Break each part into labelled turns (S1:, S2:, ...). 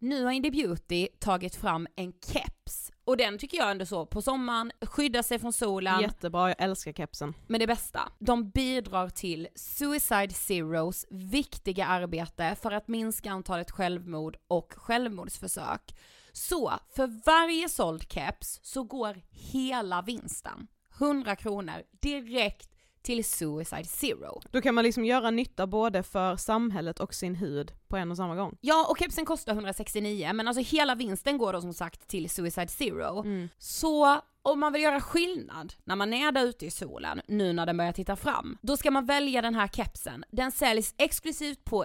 S1: Nu har Indie Beauty tagit fram en keps och den tycker jag ändå så, på sommaren, skydda sig från solen,
S2: Jättebra, jag älskar kepsen.
S1: men det bästa, de bidrar till Suicide Zeros viktiga arbete för att minska antalet självmord och självmordsförsök. Så för varje såld keps så går hela vinsten, 100 kronor, direkt till Suicide Zero.
S2: Då kan man liksom göra nytta både för samhället och sin hud på en och samma gång.
S1: Ja, och kepsen kostar 169 men alltså hela vinsten går då som sagt till Suicide Zero.
S3: Mm.
S1: Så om man vill göra skillnad när man är där ute i solen, nu när den börjar titta fram, då ska man välja den här kepsen. Den säljs exklusivt på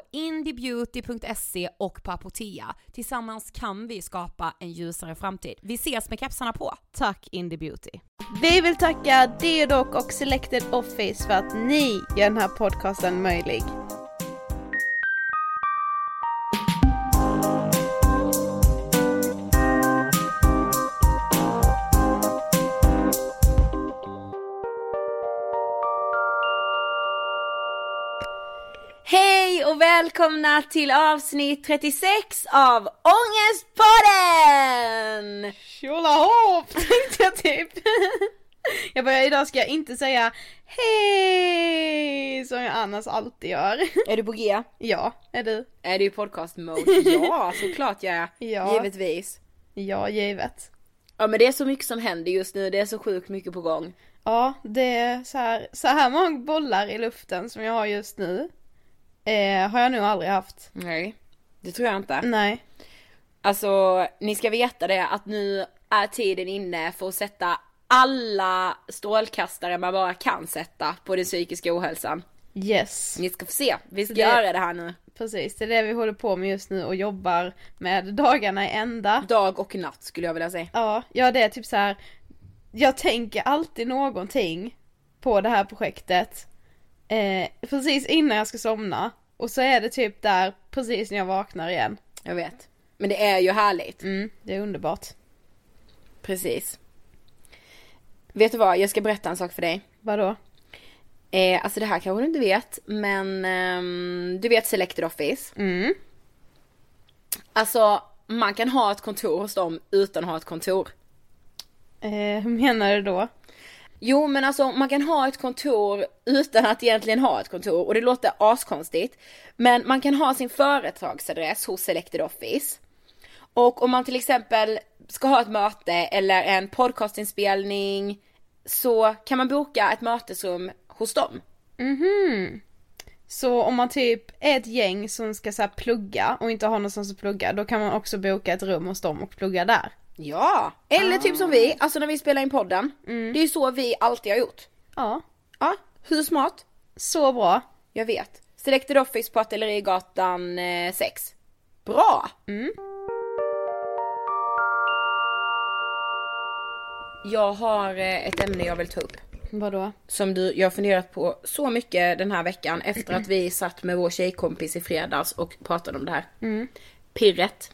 S1: indiebeauty.se och på Apotea. Tillsammans kan vi skapa en ljusare framtid. Vi ses med kepsarna på!
S2: Tack Indie Beauty.
S4: Vi vill tacka Deodoc och Selected Office för att ni gör den här podcasten möjlig.
S3: Hej och välkomna till avsnitt 36 av Ångestpodden!
S4: Tjolahopp tänkte jag typ. Jag bara idag ska jag inte säga hej som jag annars alltid gör.
S3: Är du på G?
S4: Ja, är du?
S3: Är du i podcast mode? Ja, såklart jag är.
S4: Ja.
S3: Givetvis.
S4: Ja, givet.
S3: Ja men det är så mycket som händer just nu, det är så sjukt mycket på gång.
S4: Ja, det är så här, så här många bollar i luften som jag har just nu. Eh, har jag nog aldrig haft.
S3: Nej, det tror jag inte.
S4: Nej.
S3: Alltså, ni ska veta det att nu är tiden inne för att sätta alla strålkastare man bara kan sätta på den psykiska ohälsan.
S4: Yes.
S3: Ni ska få se, vi ska
S4: Det-
S3: göra det här nu.
S4: Precis, det är det vi håller på med just nu och jobbar med dagarna i ända.
S3: Dag och natt skulle jag vilja säga.
S4: Ja, ja det är typ så här. Jag tänker alltid någonting på det här projektet eh, precis innan jag ska somna och så är det typ där precis när jag vaknar igen.
S3: Jag vet. Men det är ju härligt.
S4: Mm, det är underbart.
S3: Precis. Vet du vad, jag ska berätta en sak för dig.
S4: Vadå?
S3: Eh, alltså det här kanske du inte vet, men ehm, du vet Selected Office?
S4: Mm.
S3: Alltså, man kan ha ett kontor hos dem utan att ha ett kontor.
S4: Eh, hur menar du då?
S3: Jo men alltså man kan ha ett kontor utan att egentligen ha ett kontor och det låter askonstigt. Men man kan ha sin företagsadress hos Selected Office. Och om man till exempel ska ha ett möte eller en podcastinspelning så kan man boka ett mötesrum hos dem.
S4: Så om man typ är ett gäng som ska så här plugga och inte har någonstans att plugga då kan man också boka ett rum hos dem och plugga där.
S3: Ja! Eller typ som vi, alltså när vi spelar in podden. Det är ju så vi alltid har gjort.
S4: Ja,
S3: Ja, hur smart?
S4: så bra.
S3: Jag vet. Selected Office på Artillerigatan 6. eh, Bra! Jag har eh, ett ämne jag vill ta upp.
S4: Vadå?
S3: Som du, jag har funderat på så mycket den här veckan efter att vi satt med vår tjejkompis i fredags och pratade om det här. Pirret.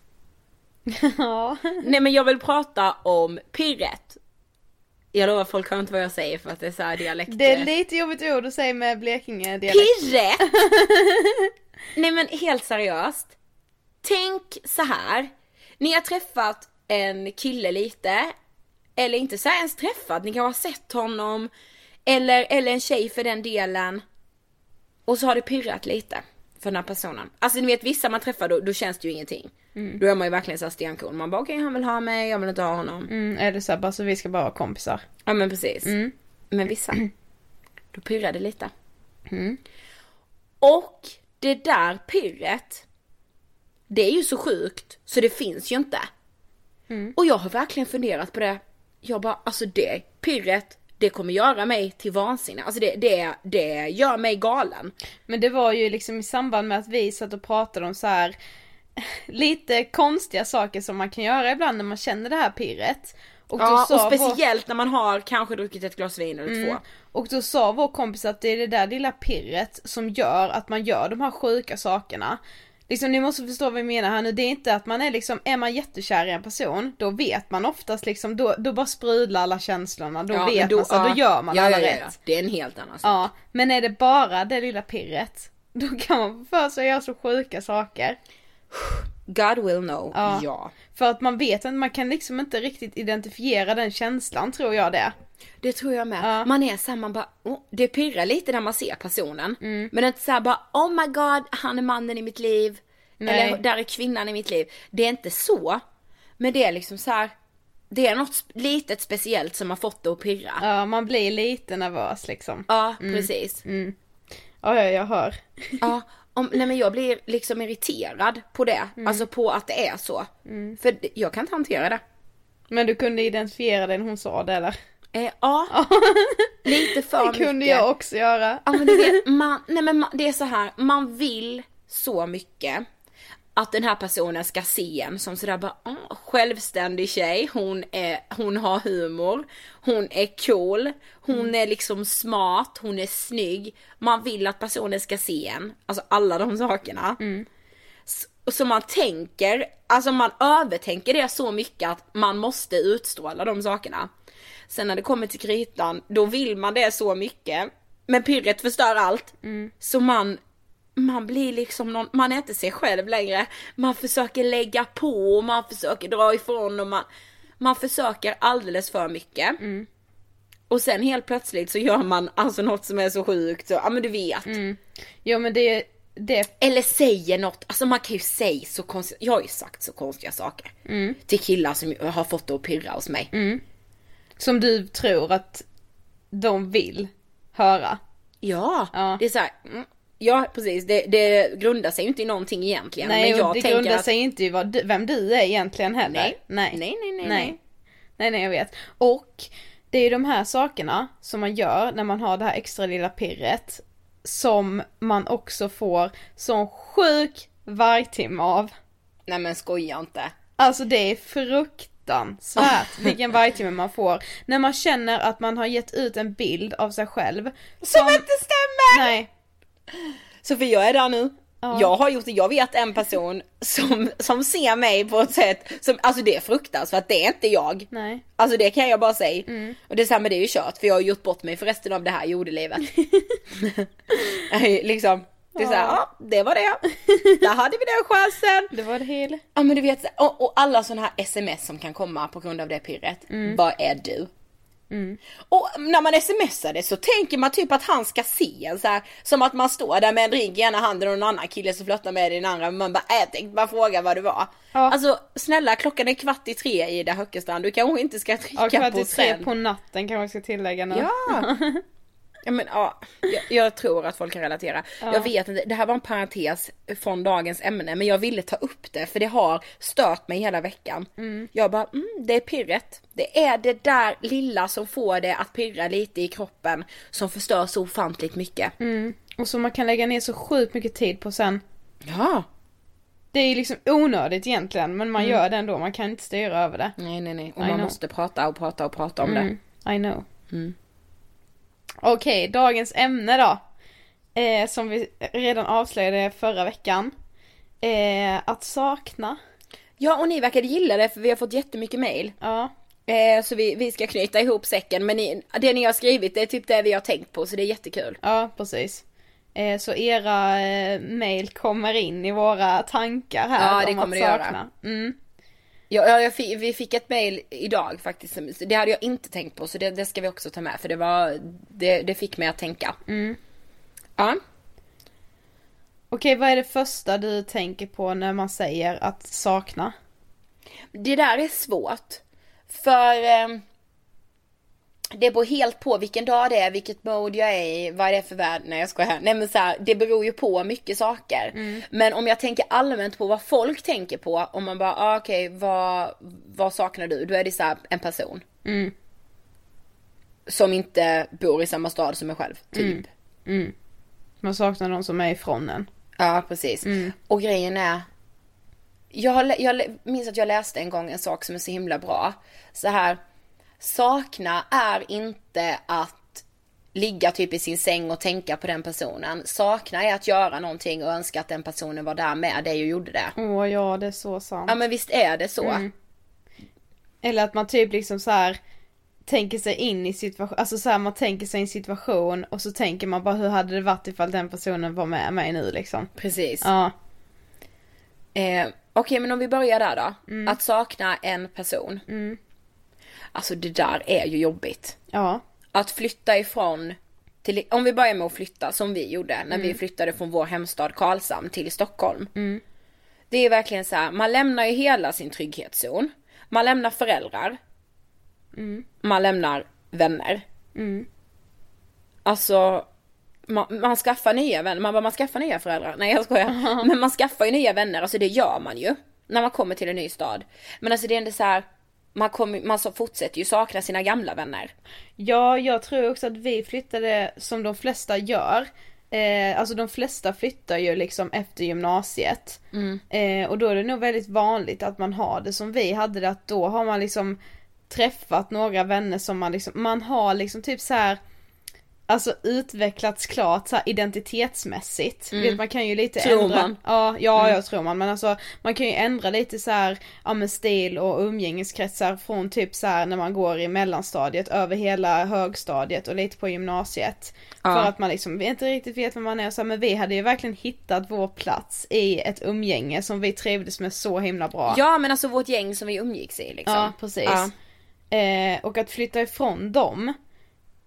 S4: Ja.
S3: Nej men jag vill prata om pirret. Jag lovar folk hör inte vad jag säger för att det är så här dialekt.
S4: Det är lite jobbigt ord att säga med Blekinge dialekt.
S3: Pirret! Nej men helt seriöst. Tänk så här. Ni har träffat en kille lite. Eller inte så här ens träffat, ni kan ha sett honom. Eller, eller en tjej för den delen. Och så har det pirrat lite. För den här personen. Alltså ni vet vissa man träffar då, då känns det ju ingenting.
S4: Mm.
S3: Då är man ju verkligen såhär stenkorn. Man bara okej han vill ha mig, jag vill inte ha honom.
S4: Mm, eller så här, bara så vi ska bara vara kompisar.
S3: Ja men precis.
S4: Mm.
S3: Men vissa, då pirrar det lite.
S4: Mm.
S3: Och det där pirret, det är ju så sjukt så det finns ju inte.
S4: Mm.
S3: Och jag har verkligen funderat på det. Jag bara, alltså det pirret, det kommer göra mig till vansinne. Alltså det, det, det gör mig galen.
S4: Men det var ju liksom i samband med att vi satt och pratade om så här lite konstiga saker som man kan göra ibland när man känner det här pirret. Och,
S3: Ja,
S4: då
S3: och
S4: sa Mm. vår,
S3: speciellt när man har kanske druckit ett glas vin eller två.
S4: och då sa vår kompis att det är det där lilla pirret som gör att man gör de här sjuka sakerna. Liksom ni måste förstå vad jag menar här nu, det är inte att man är liksom, är man jättekär i en person, då vet man oftast liksom, då, då bara sprudlar alla känslorna, då
S3: Ja, men
S4: vet man så,
S3: ja.
S4: då gör man
S3: ja,
S4: alla
S3: ja, ja,
S4: rätt.
S3: ja. Det är en helt annan sak.
S4: Ja, men är det bara det lilla pirret, då kan man få för sig att göra så sjuka saker.
S3: God will know,
S4: Ja.
S3: ja.
S4: För att man vet att man kan liksom inte riktigt identifiera den känslan tror jag det.
S3: Det tror jag med.
S4: Ja.
S3: Man är såhär, man bara, åh, det pirrar lite när man ser personen.
S4: Mm.
S3: Men inte såhär bara, oh my god, han är mannen i mitt liv.
S4: Nej.
S3: Eller där är kvinnan i mitt liv. Det är inte så. Men det är liksom så här. det är något sp- litet speciellt som har fått det att pirra. Ja,
S4: Ja, man blir lite nervös liksom.
S3: precis.
S4: Mm. Ja, ja, jag hör.
S3: Ja, om, nej men jag blir liksom irriterad på det.
S4: Mm.
S3: Alltså på att det är så. För det- jag kan inte hantera det.
S4: Men du kunde identifiera det när hon sa det eller?
S3: Eh, ja, lite för
S4: Det
S3: mycket.
S4: kunde jag också göra.
S3: Ja men du vet, man, nej men man, det är så här, man vill så mycket att den här personen ska se en som sådär bara, "Ah, självständig tjej, hon, är, hon har humor, hon är cool, hon är liksom smart, hon är snygg. Man vill att personen ska se en, alltså alla de sakerna. S- och Så man tänker, alltså man övertänker det så mycket att man måste utstråla de sakerna. Sen när det kommer till kritan, då vill man det så mycket. Men pirret förstör allt. Så man, man blir liksom någon, man är inte sig själv längre. Man försöker lägga på och man försöker dra ifrån och man, man försöker alldeles för mycket. Och sen helt plötsligt så gör man alltså något som är så sjukt så, ja men du vet.
S4: Jo men det, det,
S3: Eller säger något, alltså man kan ju säga så konstiga, jag har ju sagt så konstiga saker.
S4: Mm.
S3: Till killar som har fått det att pirra hos mig.
S4: som du tror att de vill höra.
S3: Ja,
S4: Ja.
S3: det är så här, mm, ja precis, det, det grundar sig ju inte i någonting egentligen.
S4: Nej,
S3: men
S4: och
S3: jag
S4: det
S3: tänker
S4: grundar
S3: att,
S4: sig inte i vad du, vem du är egentligen heller.
S3: Nej.
S4: Nej.
S3: Nej, nej, nej,
S4: nej.
S3: nej.
S4: Nej, nej, jag vet. Och det är ju de här sakerna som man gör när man har det här extra lilla pirret som man också får sån sjuk vargtimme av.
S3: nej men skoja inte.
S4: Alltså det är fruktansvärt vilken vargtimme man får när man känner att man har gett ut en bild av sig själv.
S3: Som inte stämmer!
S4: Nej,
S3: Sofia jag är där nu. Jag har gjort det, jag vet en person som, som ser mig på ett sätt som, alltså det är fruktansvärt, det är inte jag.
S4: nej. Mm.
S3: Alltså det kan jag bara säga. Och det är samma, det är ju kört för jag har gjort bort mig för resten av det här jordelivet. liksom, det är såhär, ja det var det. Där hade vi den chansen.
S4: Det var det hela.
S3: Ja Mm. men du vet, så- och, och alla sådana här sms som kan komma på grund av det pirret. Vad är du? Och när man smsade så tänker man typ att han ska se en så här, som att man står där med en ring i ena handen och en annan kille som flörtar med den andra, man bara äh, jag tänkte bara fråga vad det var. Alltså snälla klockan är kvart i tre Ida Höckestrand, du kanske inte ska trycka
S4: Ja, kvart
S3: på
S4: i tre
S3: sen.
S4: på natten kanske jag ska tillägga nu.
S3: Ja! Ja men ja, jag, jag tror att folk kan relatera. Jag vet inte, det här var en parentes från dagens ämne men jag ville ta upp det för det har stört mig hela veckan. Jag bara, mm, det är pirret. Det är det där lilla som får det att pirra lite i kroppen som förstör så ofantligt mycket.
S4: Och som man kan lägga ner så sjukt mycket tid på sen.
S3: Ja!
S4: Det är ju liksom onödigt egentligen men
S3: Mm.
S4: man gör det ändå, man kan inte styra över det.
S3: Nej nej nej, och
S4: I
S3: man
S4: know. Mm.
S3: måste prata och prata och prata om det.
S4: I know.
S3: Mm.
S4: Okej, dagens ämne då. Eh, som vi redan avslöjade förra veckan. Eh, att sakna.
S3: Ja och ni verkade gilla det för vi har fått jättemycket mail.
S4: Ja.
S3: Eh, så vi, vi ska knyta ihop säcken men ni, det ni har skrivit det är typ det vi har tänkt på så det är jättekul.
S4: Ja, precis. Eh, så era eh, mail kommer in i våra tankar här
S3: Ja, det
S4: om
S3: kommer
S4: att
S3: det göra.
S4: sakna. Mm.
S3: Ja, ja jag fick, vi fick ett mail idag faktiskt. som- Det hade jag inte tänkt på så det, det ska vi också ta med för det var, det, det fick mig att tänka. Ja.
S4: Okej, vad är det första du tänker på när man säger att sakna?
S3: Det där är svårt. För ehm, det beror helt på vilken dag det är, vilket mode jag är i, vad det är för värld. Nej jag skojar här. Nej men så här, det beror ju på mycket saker. Men om jag tänker allmänt på vad folk tänker på, om man bara ah, okej vad, vad saknar du? Då är det så här, en person. Som inte bor i samma stad som jag själv, typ.
S4: Man saknar någon som är ifrån en.
S3: Ja precis. Och grejen är. Jag, har lä- jag lä- minns att jag läste en gång en sak som är så himla bra. Så här. Sakna är inte att ligga typ i sin säng och tänka på den personen. Sakna är att göra någonting och önska att den personen var där med dig och gjorde det.
S4: Åh ja, det är så sant.
S3: Ja men visst är det så.
S4: Eller att man typ liksom så här tänker sig in i situation, alltså så här, man tänker sig en situation och så tänker man bara hur hade det varit ifall den personen var med mig nu liksom.
S3: Precis.
S4: Ja,
S3: Eh, Okej men om vi börjar där då. Att sakna en person. Alltså det där är ju jobbigt.
S4: ja,
S3: att flytta ifrån till, om vi börjar med att flytta som vi gjorde när vi flyttade från vår hemstad Karlshamn till Stockholm. Det är verkligen så här, man lämnar ju hela sin trygghetszon. Man lämnar föräldrar. Man lämnar vänner. Alltså, man, man skaffar nya vänner. Man bara, man skaffar nya föräldrar. Nej jag skojar. Men man skaffar ju nya vänner, alltså det gör man ju. När man kommer till en ny stad. Men alltså det är ändå så här, man, kommer, man så fortsätter ju sakna sina gamla vänner.
S4: Ja, jag tror också att vi flyttade som de flesta gör. Eh, alltså de flesta flyttar ju liksom efter gymnasiet.
S3: Mm.
S4: Eh, och då är det nog väldigt vanligt att man har det som vi hade det att då har man liksom träffat några vänner som man liksom, man har liksom typ så här Alltså utvecklats klart så här, identitetsmässigt. Vet, man kan ju lite
S3: Mm. Tror
S4: ändra.
S3: man.
S4: Ja, ja
S3: Mm.
S4: jag tror man. Men alltså man kan ju ändra lite så här, ja men stil och umgängeskretsar från typ så här när man går i mellanstadiet över hela högstadiet och lite på gymnasiet. För att man liksom inte riktigt vet vad man är och så här, men vi hade ju verkligen hittat vår plats i ett umgänge som vi trivdes med så himla bra.
S3: Ja men alltså vårt gäng som vi umgicks i liksom.
S4: Ja, precis.
S3: Ja.
S4: Eh, och att flytta ifrån dem.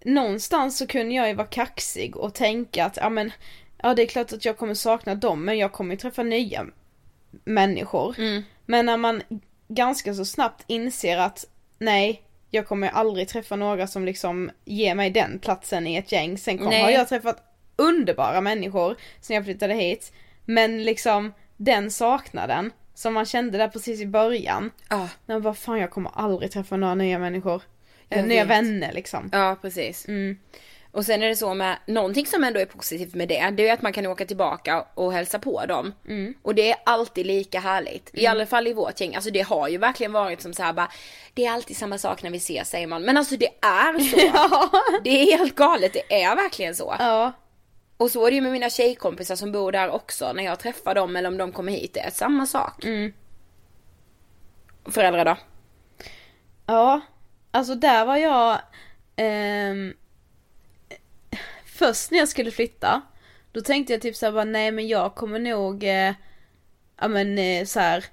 S4: Någonstans så kunde jag ju vara kaxig och tänka att, ja men, ja det är klart att jag kommer sakna dem men jag kommer ju träffa nya människor.
S3: Mm.
S4: Men när man ganska så snabbt inser att, nej, jag kommer aldrig träffa några som liksom ger mig den platsen i ett gäng. Sen kom,
S3: Nej.
S4: har jag träffat underbara människor sen jag flyttade hit. Men liksom den saknaden som man kände där precis i början.
S3: Ja.
S4: Nej, vad fan jag kommer aldrig träffa några nya människor.
S3: Jag
S4: nya
S3: vet.
S4: vänner liksom.
S3: Ja precis.
S4: Mm.
S3: Och sen är det så med, någonting som ändå är positivt med det, det är ju att man kan åka tillbaka och hälsa på dem.
S4: Mm.
S3: Och det är alltid lika härligt. I alla fall i vårt gäng, alltså det har ju verkligen varit som så här bara, det är alltid samma sak när vi ses säger man. Men alltså det är så. Det är helt galet, det är verkligen så.
S4: Ja,
S3: Och så är det ju med mina tjejkompisar som bor där också, när jag träffar dem eller om de kommer hit, det är samma sak.
S4: Mm.
S3: Föräldrar då?
S4: ja. Alltså där var jag... ehm, först när jag skulle flytta, då tänkte jag typ såhär bara nej men jag kommer nog, eh, ja men eh, såhär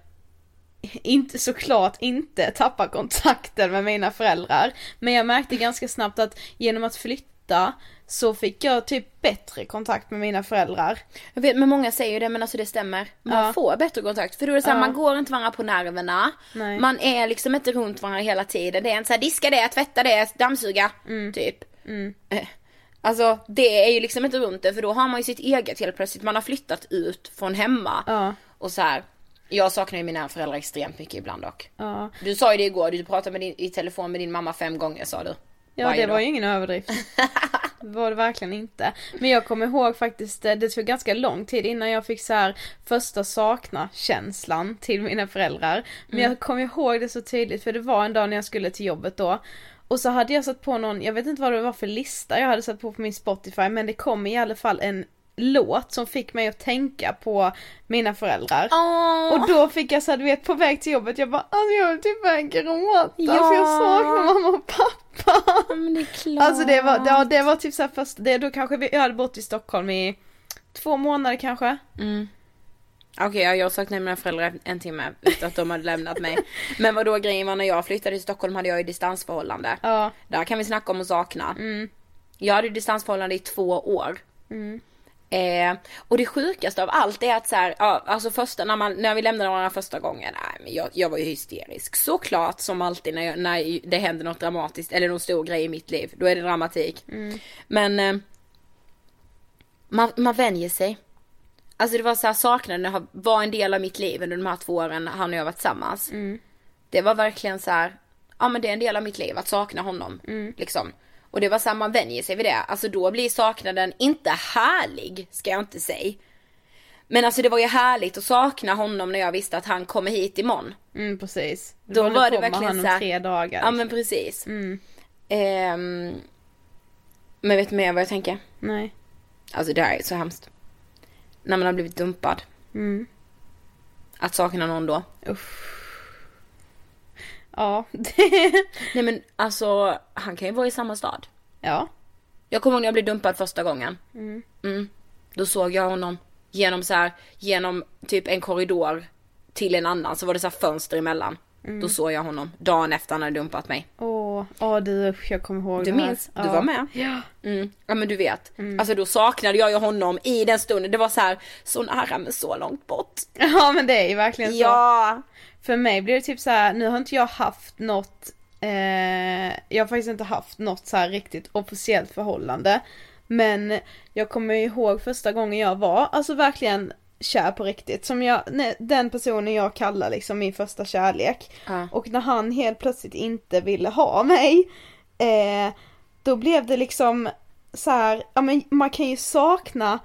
S4: inte, såklart inte tappa kontakten med mina föräldrar. Men jag märkte ganska snabbt att genom att flytta så fick jag typ bättre kontakt med mina föräldrar.
S3: Jag vet, men många säger ju det men alltså det stämmer. Man
S4: Ja.
S3: får bättre kontakt för då är det så här,
S4: Ja.
S3: man går inte varandra på nerverna.
S4: Nej.
S3: Man är liksom inte runt varandra hela tiden. Det är inte så här, diska det, tvätta det, dammsuga.
S4: Mm.
S3: Typ. Eh, Alltså det är ju liksom inte runt det för då har man ju sitt eget helt plötsligt. Man har flyttat ut från hemma.
S4: Ja.
S3: Och så här. Jag saknar ju mina föräldrar extremt mycket ibland dock.
S4: Ja,
S3: Du sa ju det igår, du pratade med din, i telefon med din mamma fem gånger sa du.
S4: ja
S3: Varje
S4: det var
S3: dag.
S4: ju ingen överdrift. Det var det verkligen inte. Men jag kommer ihåg faktiskt, eh, det tog ganska lång tid innan jag fick så här första sakna-känslan till mina föräldrar. Men jag kommer ihåg det så tydligt för det var en dag när jag skulle till jobbet då. Och så hade jag satt på någon, jag vet inte vad det var för lista jag hade satt på på min Spotify men det kom i alla fall en låt som fick mig att tänka på mina föräldrar.
S3: Åh!
S4: Och då fick jag så här, du vet på väg till jobbet, jag bara alltså jag vill typ börja gråta för jag saknar mamma och pappa.
S3: Men det är klart.
S4: Alltså det var, ja, det var typ så här först, det, då kanske vi, jag hade bott i Stockholm i två månader kanske.
S3: Okej, ja, jag saknade mina föräldrar en timme efter att de hade lämnat mig. Men vad då grejen var när jag flyttade till Stockholm hade jag ju distansförhållande.
S4: Ja.
S3: Där kan vi snacka om att sakna. Jag hade ju distansförhållande i två år. Eh, och det sjukaste av allt är att så här, ja, alltså första när, man, när vi lämnade varandra första gången, nej, men jag, jag var ju hysterisk. Såklart som alltid när, jag, när det händer något dramatiskt eller någon stor grej i mitt liv, då är det dramatik. Men eh, man, man vänjer sig. Alltså det var så här, saknaden har- var en del av mitt liv under de här två åren han och jag var tillsammans.
S4: Mm.
S3: Det var verkligen så här, ja men det är en del av mitt liv att sakna honom.
S4: Mm.
S3: Liksom. Och det var så här, man vänjer sig vid det. Alltså då blir saknaden inte härlig, ska jag inte säga. Men alltså det var ju härligt att sakna honom när jag visste att han kommer hit imorgon.
S4: Mm precis.
S3: Då
S4: håller
S3: var
S4: på
S3: det
S4: med
S3: verkligen
S4: han om
S3: så här-
S4: tre dagar. Mm.
S3: Ja men precis. Ehm, men vet du mer vad jag tänker?
S4: Nej.
S3: Alltså det här är så hemskt. När man har blivit dumpad. Mm. Att sakna någon då.
S4: Ja. det-
S3: Nej men alltså, han kan ju vara i samma stad.
S4: ja.
S3: Jag kommer ihåg när jag blev dumpad första gången. Mm. Då såg jag honom genom så här, genom typ en korridor till en annan så var det så här fönster emellan. Då såg jag honom dagen efter han hade dumpat mig.
S4: Åh, åh du usch, jag kommer ihåg
S3: Du
S4: det här.
S3: minns? Du
S4: ja.
S3: var med?
S4: Ja.
S3: Mm. Ja men du vet. Alltså då saknade jag ju honom i den stunden. Det var så här, så nära men så långt bort.
S4: Ja men det är ju verkligen så.
S3: Ja.
S4: För mig blir det typ så här, nu har inte jag haft något, eh, jag har faktiskt inte haft något så här riktigt officiellt förhållande. Men jag kommer ihåg första gången jag var, alltså verkligen kär på riktigt. Som jag, nej, den personen jag kallar liksom min första kärlek.
S3: Ja.
S4: Och när han helt plötsligt inte ville ha mig. Eh, då blev det liksom så här, ja men man kan ju sakna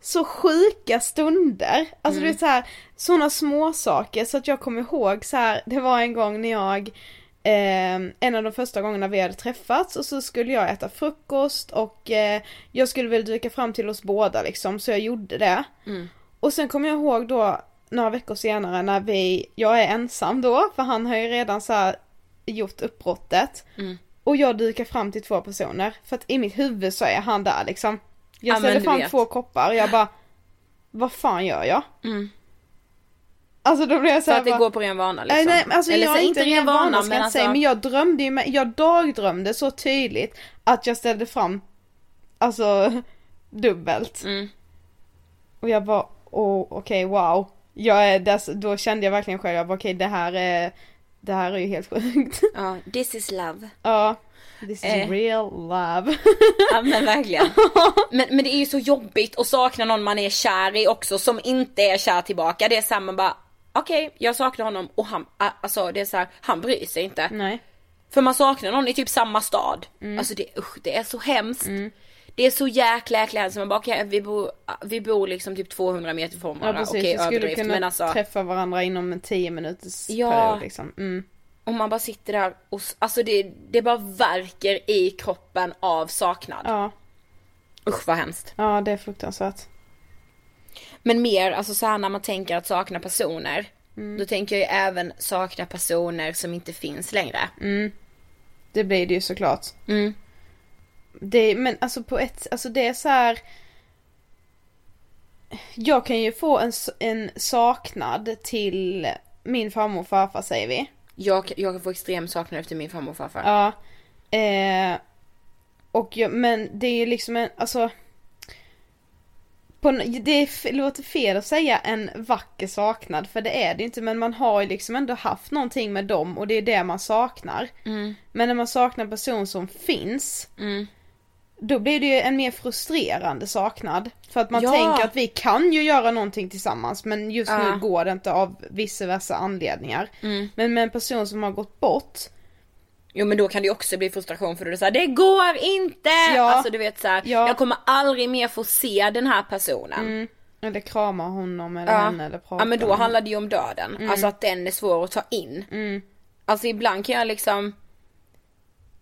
S4: så sjuka stunder. Alltså
S3: Mm.
S4: du vet så här, sådana små saker så att jag kommer ihåg så här, det var en gång när jag eh, en av de första gångerna vi hade träffats och så skulle jag äta frukost och eh, jag skulle väl dyka fram till oss båda liksom så jag gjorde det.
S3: Mm.
S4: Och sen kommer jag ihåg då några veckor senare när vi, jag är ensam då för han har ju redan så här gjort uppbrottet.
S3: Mm.
S4: Och jag dykar fram till två personer för att i mitt huvud så är han där liksom. Jag
S3: Ja,
S4: ställer
S3: men du
S4: fram
S3: vet.
S4: två koppar och jag bara Vad fan gör jag? Alltså då blev jag så
S3: Så
S4: här
S3: Mm. att det
S4: bara-
S3: går på ren vana liksom.
S4: Nej, nej, men alltså
S3: Eller
S4: jag
S3: så
S4: är inte ren vana ska jag inte
S3: alltså-
S4: säga, men jag drömde ju med, jag dagdrömde så tydligt att jag ställde fram, alltså dubbelt.
S3: Mm.
S4: Och jag bara, åh okej wow. Jag är, dess, då kände jag verkligen själv, jag bara okej det här är, det här är ju helt sjukt.
S3: Ja, this is love.
S4: ja. This is
S3: Eh.
S4: real love.
S3: Ja men verkligen. Men, men det är ju så jobbigt att sakna någon man är kär i också som inte är kär tillbaka. Det är såhär man bara okej jag saknar honom och han, a- alltså det är så här, han bryr sig inte.
S4: Nej.
S3: För man saknar någon i typ samma stad.
S4: Mm.
S3: Alltså det, usch, det är så hemskt. Det är så jäkla jäkla hemskt. Man bara okej vi, bor, vi bor liksom typ 200 meter från
S4: Ja
S3: varandra.
S4: precis,
S3: okej
S4: vi skulle
S3: överdrift men
S4: kunna
S3: alltså.
S4: träffa varandra inom en 10 minuters
S3: Ja.
S4: period liksom. Mm.
S3: Om man bara sitter där och s- alltså det, det bara verkar i kroppen av saknad.
S4: Ja.
S3: Usch vad hemskt.
S4: ja, det är fruktansvärt.
S3: Men mer alltså så här när man tänker att sakna personer.
S4: Mm.
S3: Då tänker jag ju även sakna personer som inte finns längre.
S4: Mm. Det blir det ju såklart.
S3: Mm.
S4: Det, men alltså på ett, alltså det är så här. Jag kan ju få en, s- en saknad till min farmor och farfar säger vi.
S3: Jag, jag får extrem saknad efter min farmor och farfar.
S4: Ja. Eh, och jag, men det är ju liksom en, alltså. På, n- det är, f- låter fel att säga en vacker saknad för det är det inte men man har ju liksom ändå haft någonting med dem och det är det man saknar.
S3: Mm.
S4: Men när man saknar en person som finns då blir det ju en mer frustrerande saknad. För att man
S3: Ja.
S4: tänker att vi kan ju göra någonting tillsammans men just
S3: Ja. Mm.
S4: nu går det inte av vissa vissa anledningar. Men med en person som har gått bort
S3: Jo men då kan det ju också bli frustration för då är det såhär, det går inte!
S4: Ja.
S3: Alltså du vet såhär,
S4: Ja.
S3: jag kommer aldrig mer få se den här personen.
S4: Eller krama honom eller henne Mm. eller prata
S3: ja men då
S4: med
S3: handlar det ju om döden, alltså att den är svår att ta in. Alltså ibland kan jag liksom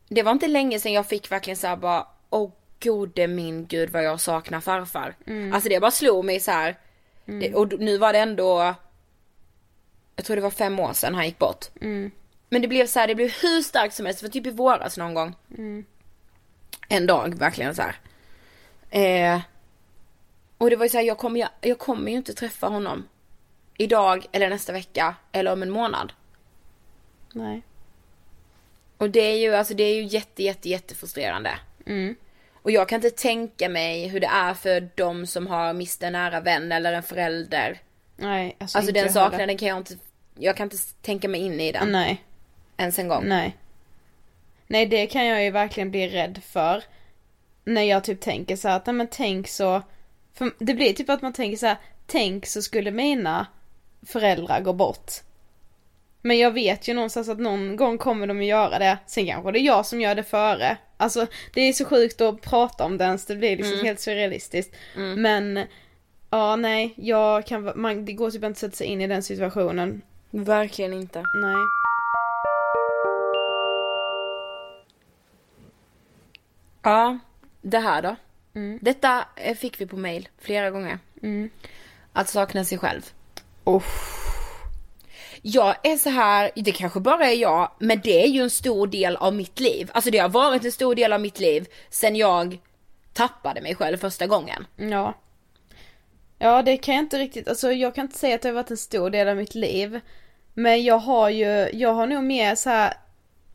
S3: Det var inte länge sedan jag fick verkligen såhär bara Åh gode min gud vad jag saknar farfar.
S4: Mm.
S3: Alltså det bara slog mig så här. Det, och d- nu var det ändå Jag tror det var fem år sedan han gick bort.
S4: Mm.
S3: Men det blev så här, det blev hur starkt som helst, för typ i våras någon gång.
S4: Mm.
S3: En dag verkligen så här. Eh, och det var ju så här, jag kommer, jag, jag kommer ju inte träffa honom. Idag eller nästa vecka eller om en månad.
S4: Nej.
S3: Och det är ju, alltså det är ju jätte, jätte, jättefrustrerande.
S4: Mm.
S3: Och jag kan inte tänka mig hur det är för de som har mist en nära vän eller en förälder.
S4: Nej, alltså,
S3: Alltså
S4: inte
S3: den
S4: jag heller.
S3: saknaden kan jag inte, jag kan inte tänka mig in i den
S4: Nej,
S3: ens en gång.
S4: nej. Nej det kan jag ju verkligen bli rädd för. När jag typ tänker så här att nej men tänk så. För det blir typ att man tänker så här, tänk så skulle mina föräldrar gå bort. Men jag vet ju någonstans att någon gång kommer de att göra det. Sen kanske det är jag som gör det före. Alltså det är så sjukt att prata om det ens, det blir liksom helt surrealistiskt. Men ja nej, jag kan, man, det går typ inte att sätta sig in i den situationen.
S3: Verkligen inte.
S4: Nej.
S3: Ja, det här då. Detta eh, fick vi på mail flera gånger. Att sakna sig själv. Jag är så här, det kanske bara är jag, men det är ju en stor del av mitt liv. Alltså det har varit en stor del av mitt liv sen jag tappade mig själv första gången.
S4: Ja. Ja det kan jag inte riktigt, alltså jag kan inte säga att det har varit en stor del av mitt liv. Men jag har ju, jag har nog mer så här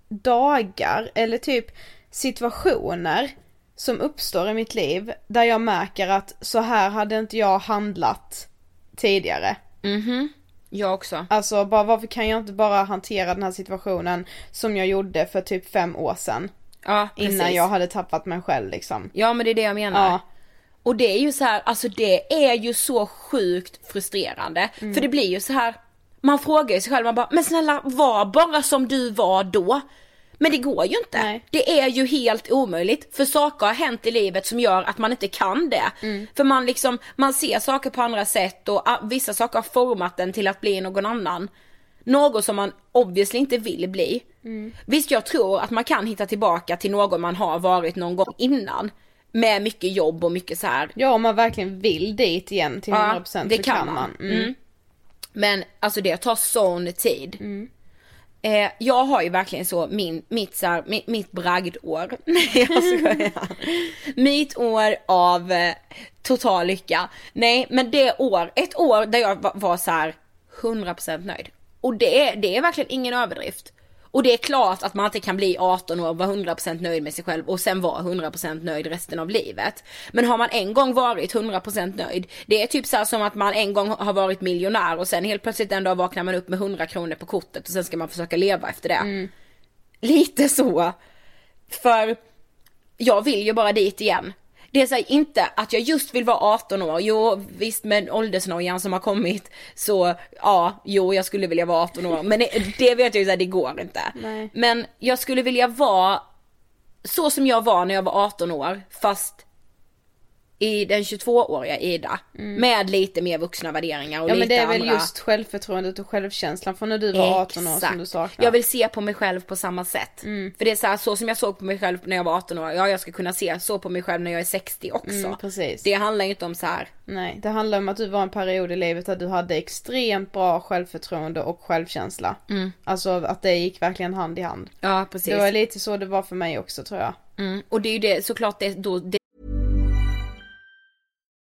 S4: dagar eller typ situationer som uppstår i mitt liv där jag märker att så här hade inte jag handlat tidigare.
S3: Jag också.
S4: Alltså bara varför kan jag inte bara hantera den här situationen som jag gjorde för typ fem år sedan.
S3: Ja, precis.
S4: Innan jag hade tappat mig själv liksom.
S3: Ja men det är det jag menar.
S4: Ja.
S3: Och det är ju så här, alltså det är ju så sjukt frustrerande.
S4: Mm.
S3: För det blir ju så här, man frågar ju sig själv, man bara, men snälla var bara som du var då. Men det går ju inte.
S4: Nej.
S3: Det är ju helt omöjligt. För saker har hänt i livet som gör att man inte kan det. För man liksom, man ser saker på andra sätt och ah, vissa saker har format den till att bli någon annan. Något som man obviously inte vill bli. Visst jag tror att man kan hitta tillbaka till någon man har varit någon gång innan. Med mycket jobb och mycket så här.
S4: Ja om man verkligen vill dit igen till 100%
S3: Ja,
S4: så kan man. Mm.
S3: Mm. Men alltså det tar sån tid. Eh, jag har ju verkligen så min, mitt, så här, mitt, mitt bragdår. Nej jag skojar. mitt år av eh, total lycka. Nej men det år, ett år där jag var, var så här 100% nöjd. Och det, är- det är verkligen ingen överdrift. Och det är klart att man inte kan bli 18 år och vara 100% nöjd med sig själv och sen vara 100% nöjd resten av livet. Men har man en gång varit 100% nöjd, det är typ så här som att man en gång har varit miljonär och sen helt plötsligt en dag vaknar man upp med 100 kronor på kortet och sen ska man försöka leva efter det. Lite så. För jag vill ju bara dit igen. Det är så här, inte att jag just vill vara 18 år, jo visst med åldersnojan som har kommit så ja, jo jag skulle vilja vara 18 år men det, det vet jag ju såhär det går inte.
S4: Nej.
S3: Men jag skulle vilja vara så som jag var när jag var 18 år fast i den 22-åriga Ida. Med lite mer vuxna värderingar och
S4: Mm. Ja
S3: lite
S4: men det är väl
S3: andra...
S4: just självförtroendet och självkänslan från när du var 18 år som du saknar. Mm.
S3: Jag vill se på mig själv på samma sätt. För det är så här, så som jag såg på mig själv när jag var 18 år, ja jag ska kunna se så på mig själv när jag är 60 också.
S4: Mm, precis.
S3: Det handlar ju inte om så här.
S4: Nej, det handlar om att du var en period i livet där du hade extremt bra självförtroende och självkänsla. Alltså att det gick verkligen hand i hand.
S3: ja Mm. precis.
S4: Det var lite så det var för mig också tror jag.
S3: mm. Och det är ju det, såklart det, då, det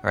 S5: All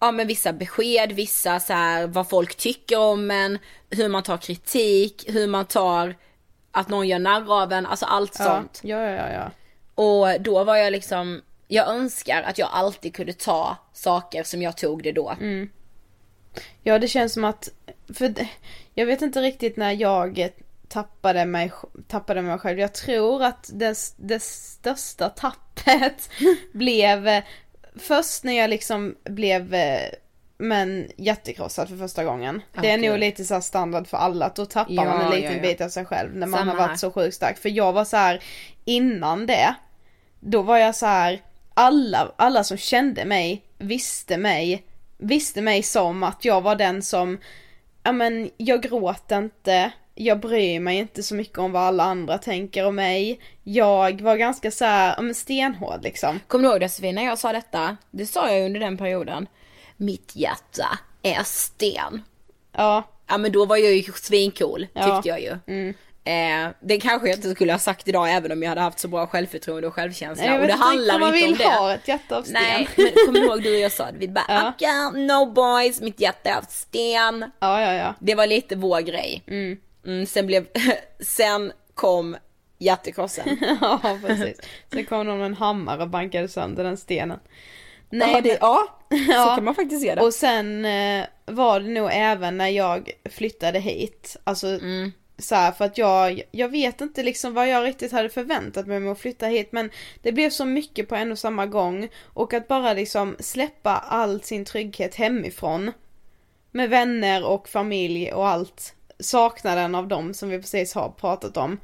S3: Ja men vissa besked, vissa så här vad folk tycker om en, hur man tar kritik, hur man tar att någon gör narr av en, alltså allt
S4: Ja,
S3: sånt.
S4: ja, ja, ja.
S3: Och då var jag liksom, jag önskar att jag alltid kunde ta saker som jag tog det då.
S4: Ja, det känns som att, för det- jag vet inte riktigt när jag tappade mig, tappade mig själv. Jag tror att det, det största tappet blev eh, först när jag liksom blev eh, men hjärtekrossad för första gången. det är nog lite så här standard för alla att då tappar
S3: Ja,
S4: man en liten
S3: ja, ja.
S4: bit av sig själv när man
S3: Samma
S4: har varit
S3: här.
S4: så sjukt stark. För jag var så här innan det, då var jag så här alla, alla som kände mig visste mig, visste mig som att jag var den som, ja men jag gråter inte, jag bryr mig inte så mycket om vad alla andra tänker om mig. Jag var ganska så här, ja men stenhård liksom.
S3: Kommer du ihåg Josefin när jag sa detta? Det sa jag under den perioden. Mitt hjärta är sten.
S4: Ja,
S3: Ja men då var jag ju svincool tyckte
S4: Ja. Mm.
S3: jag ju. Eh, det kanske jag inte skulle ha sagt idag även om jag hade haft så bra självförtroende och självkänsla.
S4: jag
S3: och
S4: vet
S3: det
S4: inte riktigt
S3: handlar
S4: om man
S3: inte om
S4: vill
S3: det.
S4: ha ett hjärta av sten.
S3: Nej men kommer du ihåg du och jag sa det? Vi bara "Ah,
S4: Ja.
S3: ja. no boys, mitt hjärta är av sten.
S4: Ja, ja, ja.
S3: Det var lite vår grej. Mm, sen blev, sen kom hjärtekrossen.
S4: Ja, precis. Sen kom någon med en hammare och bankade sönder den stenen. Nej,
S3: ja, det,
S4: men-
S3: ja,
S4: Ja.
S3: så kan man faktiskt se det.
S4: Och sen eh, var det nog även när jag flyttade hit. Alltså
S3: Mm.
S4: så här, för att jag, jag vet inte liksom vad jag riktigt hade förväntat mig med att flytta hit. Men det blev så mycket på en och samma gång. Och att bara liksom släppa all sin trygghet hemifrån. Med vänner och familj och allt. Saknaden av dem som vi precis har pratat om.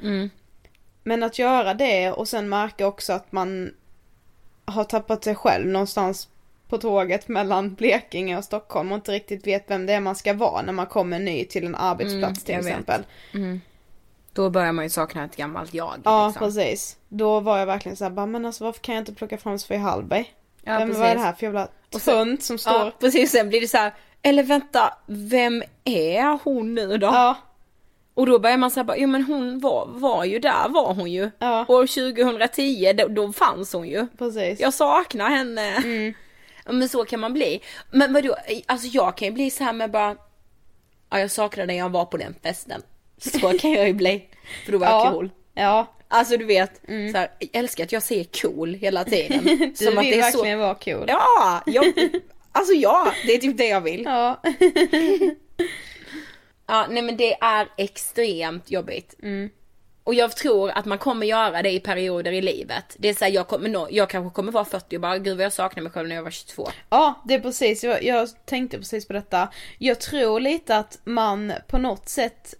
S4: Men att göra det och sen märka också att man har tappat sig själv någonstans på tåget mellan Blekinge och Stockholm och inte riktigt vet vem det är man ska vara när man kommer ny till en arbetsplats
S3: Mm, jag
S4: till
S3: vet. Mm.
S4: exempel.
S3: Då börjar man ju sakna ett gammalt jag.
S4: Ja
S3: liksom.
S4: precis. Då var jag verkligen såhär bara men alltså varför kan jag inte plocka fram Sofie Hallberg?
S3: Ja,
S4: vem,
S3: precis.
S4: vad är det här för jävla
S3: sen-
S4: tunt som står?
S3: Ja, precis. Sen blir det så här, eller vänta, vem är hon nu då?
S4: ja.
S3: Och då börjar man säga bara, jo men hon var, var ju där, var hon ju.
S4: Ja.
S3: År 2010, då, då fanns hon ju.
S4: Precis.
S3: Jag saknar henne.
S4: Mm.
S3: Ja, Men så kan man bli. Men vadå, alltså jag kan ju bli så här med bara, ja jag saknar när jag var på den festen. Så kan jag ju bli, för då var jag cool.
S4: Ja. Mm.
S3: Alltså du vet, så här, jag älskar att jag säger cool hela tiden.
S4: Du vill verkligen vara cool.
S3: Ja! Jag, alltså ja, det är typ det jag vill.
S4: Ja.
S3: Ja, nej men det är extremt jobbigt. Och jag tror att man kommer göra det i perioder i livet. Det är såhär, jag, kommer nå- jag kanske kommer vara 40 och bara gud vad jag saknar mig själv när jag var 22.
S4: Ja, det är precis. Jag, jag tänkte precis på detta. Jag tror lite att man på något sätt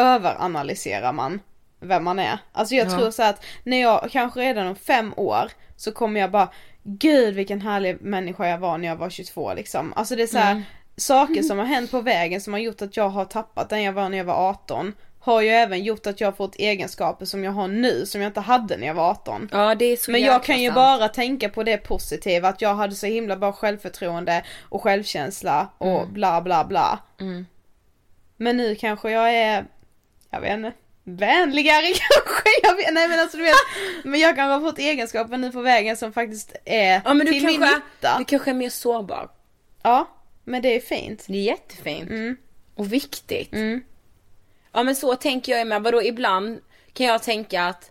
S4: överanalyserar man vem man är. Alltså jag tror så här att när jag, kanske redan om fem år, så kommer jag bara Gud vilken härlig människa jag var när jag var 22 liksom. Alltså det är så här, saker som har hänt på vägen som har gjort att jag har tappat den jag var när jag var 18. har ju även gjort att jag har fått egenskaper som jag har nu som jag inte hade när jag var 18.
S3: Ja det är så
S4: Men
S3: jäkla
S4: jag kan ju
S3: sant.
S4: bara tänka på det positiva, att jag hade så himla bra självförtroende och självkänsla och
S3: Mm.
S4: bla bla bla. Men nu kanske jag är, jag vet inte, vänligare kanske? Jag vet, nej men alltså du vet, men jag kanske har fått egenskaper nu på vägen som faktiskt är
S3: Ja men du
S4: till min
S3: kanske,
S4: nytta.
S3: du kanske är mer sårbar.
S4: Ja, men det är fint.
S3: Det är jättefint. Och viktigt. Ja men så tänker jag med. Vadå ibland kan jag tänka att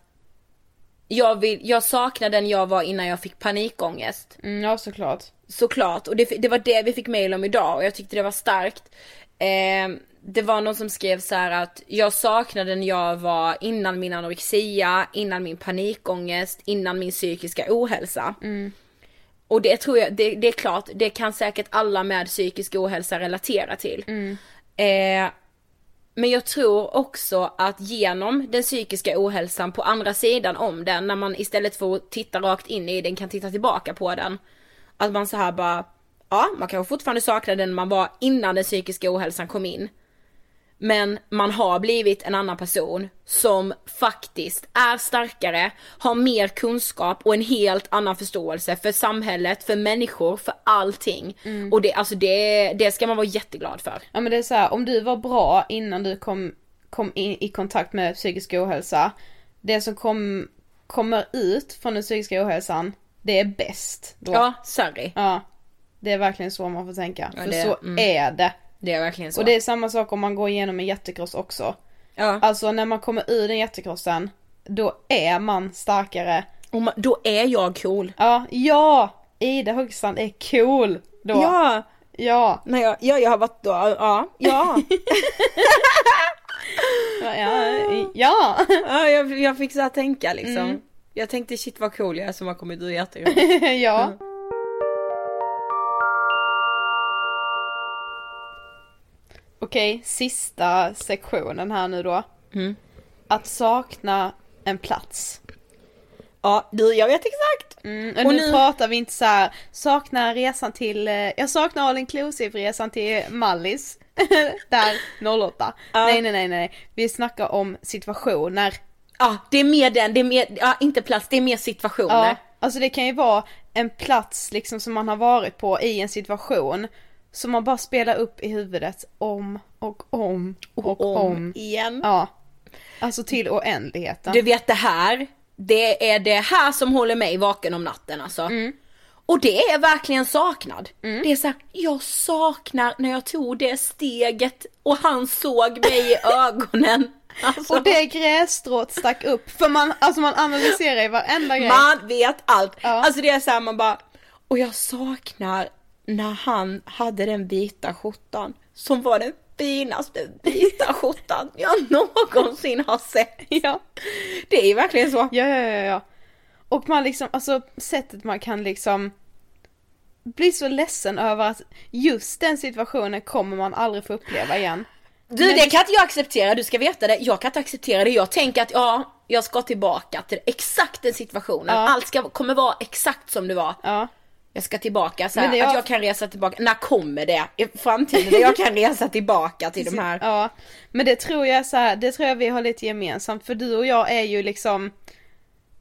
S3: jag, vill, jag saknar den jag var innan jag fick panikångest.
S4: Mm, ja såklart.
S3: Såklart. Och det, det var det vi fick mail om idag och jag tyckte det var starkt. Eh, det var någon som skrev så här att jag saknade när jag var innan min anorexia, innan min panikångest, innan min psykiska ohälsa. Och det tror jag, det, det är klart, det kan säkert alla med psykisk ohälsa relatera till. Eh, men jag tror också att genom den psykiska ohälsan på andra sidan om den, när man istället för att titta rakt in i den kan titta tillbaka på den. Att man så här bara, ja man kanske fortfarande saknar den man var innan den psykiska ohälsan kom in. Men man har blivit en annan person som faktiskt är starkare, har mer kunskap och en helt annan förståelse för samhället, för människor, för allting. Och det, alltså det, det ska man vara jätteglad för.
S4: Ja men det är så här, om du var bra innan du kom, kom in, i kontakt med psykisk ohälsa. Det som kom, kommer ut från den psykiska ohälsan, det är bäst då.
S3: Ja, sorry.
S4: Ja. Det är verkligen så man får tänka. För
S3: det-
S4: så är det.
S3: Det är verkligen så.
S4: Och det är samma sak om man går igenom en jättekross också.
S3: ja.
S4: Alltså när man kommer ur den jättekrossen, då är man starkare.
S3: och man, oh då är jag cool.
S4: Ja, ja! Ida Högstrand är cool då. Ja.
S3: när jag, ja, jag har varit då, ja, ja,
S4: Ja. ja.
S3: ja jag, jag fick så här tänka liksom.
S4: Mm.
S3: Jag tänkte shit vad cool jag är som har kommit ur hjärtat.
S4: ja. Okej, sista sektionen här nu då. Att sakna en plats.
S3: Ja, du jag vet exakt.
S4: Mm, Och,
S3: Och
S4: nu,
S3: nu-
S4: pratar vi inte så här, saknar resan till, eh, jag saknar all inclusive resan till Mallis. Där 08. Nej nej nej nej, vi snackar om situationer.
S3: Ja, det är mer den, det är mer, ja inte plats, det är mer situationer.
S4: Ja, alltså det kan ju vara en plats liksom som man har varit på i en situation som man bara spelar upp i huvudet om och om och om.
S3: igen.
S4: Ja. Alltså till oändligheten.
S3: Du vet det här, det är det här som håller mig vaken om natten alltså.
S4: Mm.
S3: Och det är verkligen saknad. Det är såhär, jag saknar när jag tog det steget och han såg mig i ögonen. Alltså,
S4: Och det grässtrået stack upp för man, alltså man analyserar ju varenda grej.
S3: man vet allt.
S4: Ja.
S3: Alltså det är såhär man bara, och jag saknar när han hade den vita skjortan som var den finaste vita skjortan jag någonsin har sett.
S4: Ja.
S3: Det är ju verkligen så.
S4: Ja, ja, ja, ja. Och man liksom, alltså sättet man kan liksom bli så ledsen över att just den situationen kommer man aldrig få uppleva igen.
S3: Du det kan inte jag acceptera, du ska veta det. Jag kan inte acceptera det. Jag tänker att ja, jag ska tillbaka till exakt den situationen.
S4: Ja.
S3: Allt ska, kommer vara exakt som det var.
S4: Ja.
S3: Jag ska tillbaka så här,
S4: Men det är-
S3: att jag kan resa tillbaka. När kommer det? I framtiden där jag kan resa tillbaka till de här.
S4: Ja, men det tror jag så här, det tror jag vi har lite gemensamt för du och jag är ju liksom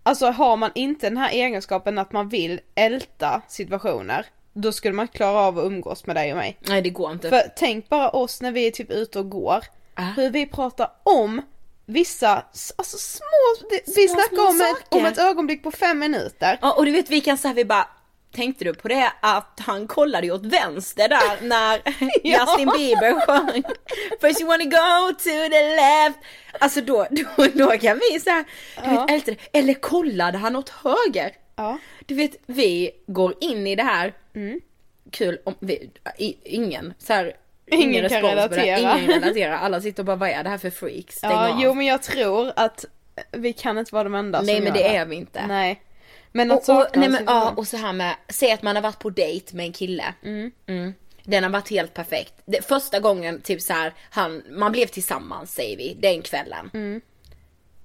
S4: Alltså har man inte den här egenskapen att man vill älta situationer Då skulle man inte klara av att umgås med dig och mig
S3: Nej det Ah. går inte.
S4: För tänk bara oss när vi är typ ute och går Hur vi pratar om vissa, s- alltså små, det- vi
S3: Små,
S4: snackar
S3: små
S4: om, ett, om
S3: saker.
S4: ett ögonblick på fem minuter
S3: Ja, och du vet vi kan säga vi bara Tänkte du på det att han kollade ju åt vänster där när Justin Bieber sjöng First you wanna go to the left Alltså då, då, då kan vi säga du vet, älta det. Eller kollade han åt höger?
S4: Ja. Mm.
S3: Du vet vi går in i det här Kul om vi, i, ingen så här
S4: Ingen kan
S3: respons på det här.
S4: relatera.
S3: Ingen relaterar, alla sitter och bara vad är det här för freaks? Stäng
S4: Ja,
S3: av.
S4: jo men jag tror att vi kan inte vara de enda
S3: Nej
S4: som
S3: men
S4: gör
S3: det är vi inte
S4: Nej Men att
S3: Och, och,
S4: sakna
S3: nej,
S4: en
S3: men, ja,
S4: situation.
S3: och så här med, säg att man har varit på dejt med en kille. Mm. Den har varit helt perfekt. Det, första gången typ så här, han, man blev tillsammans säger vi, den kvällen.
S4: Mm.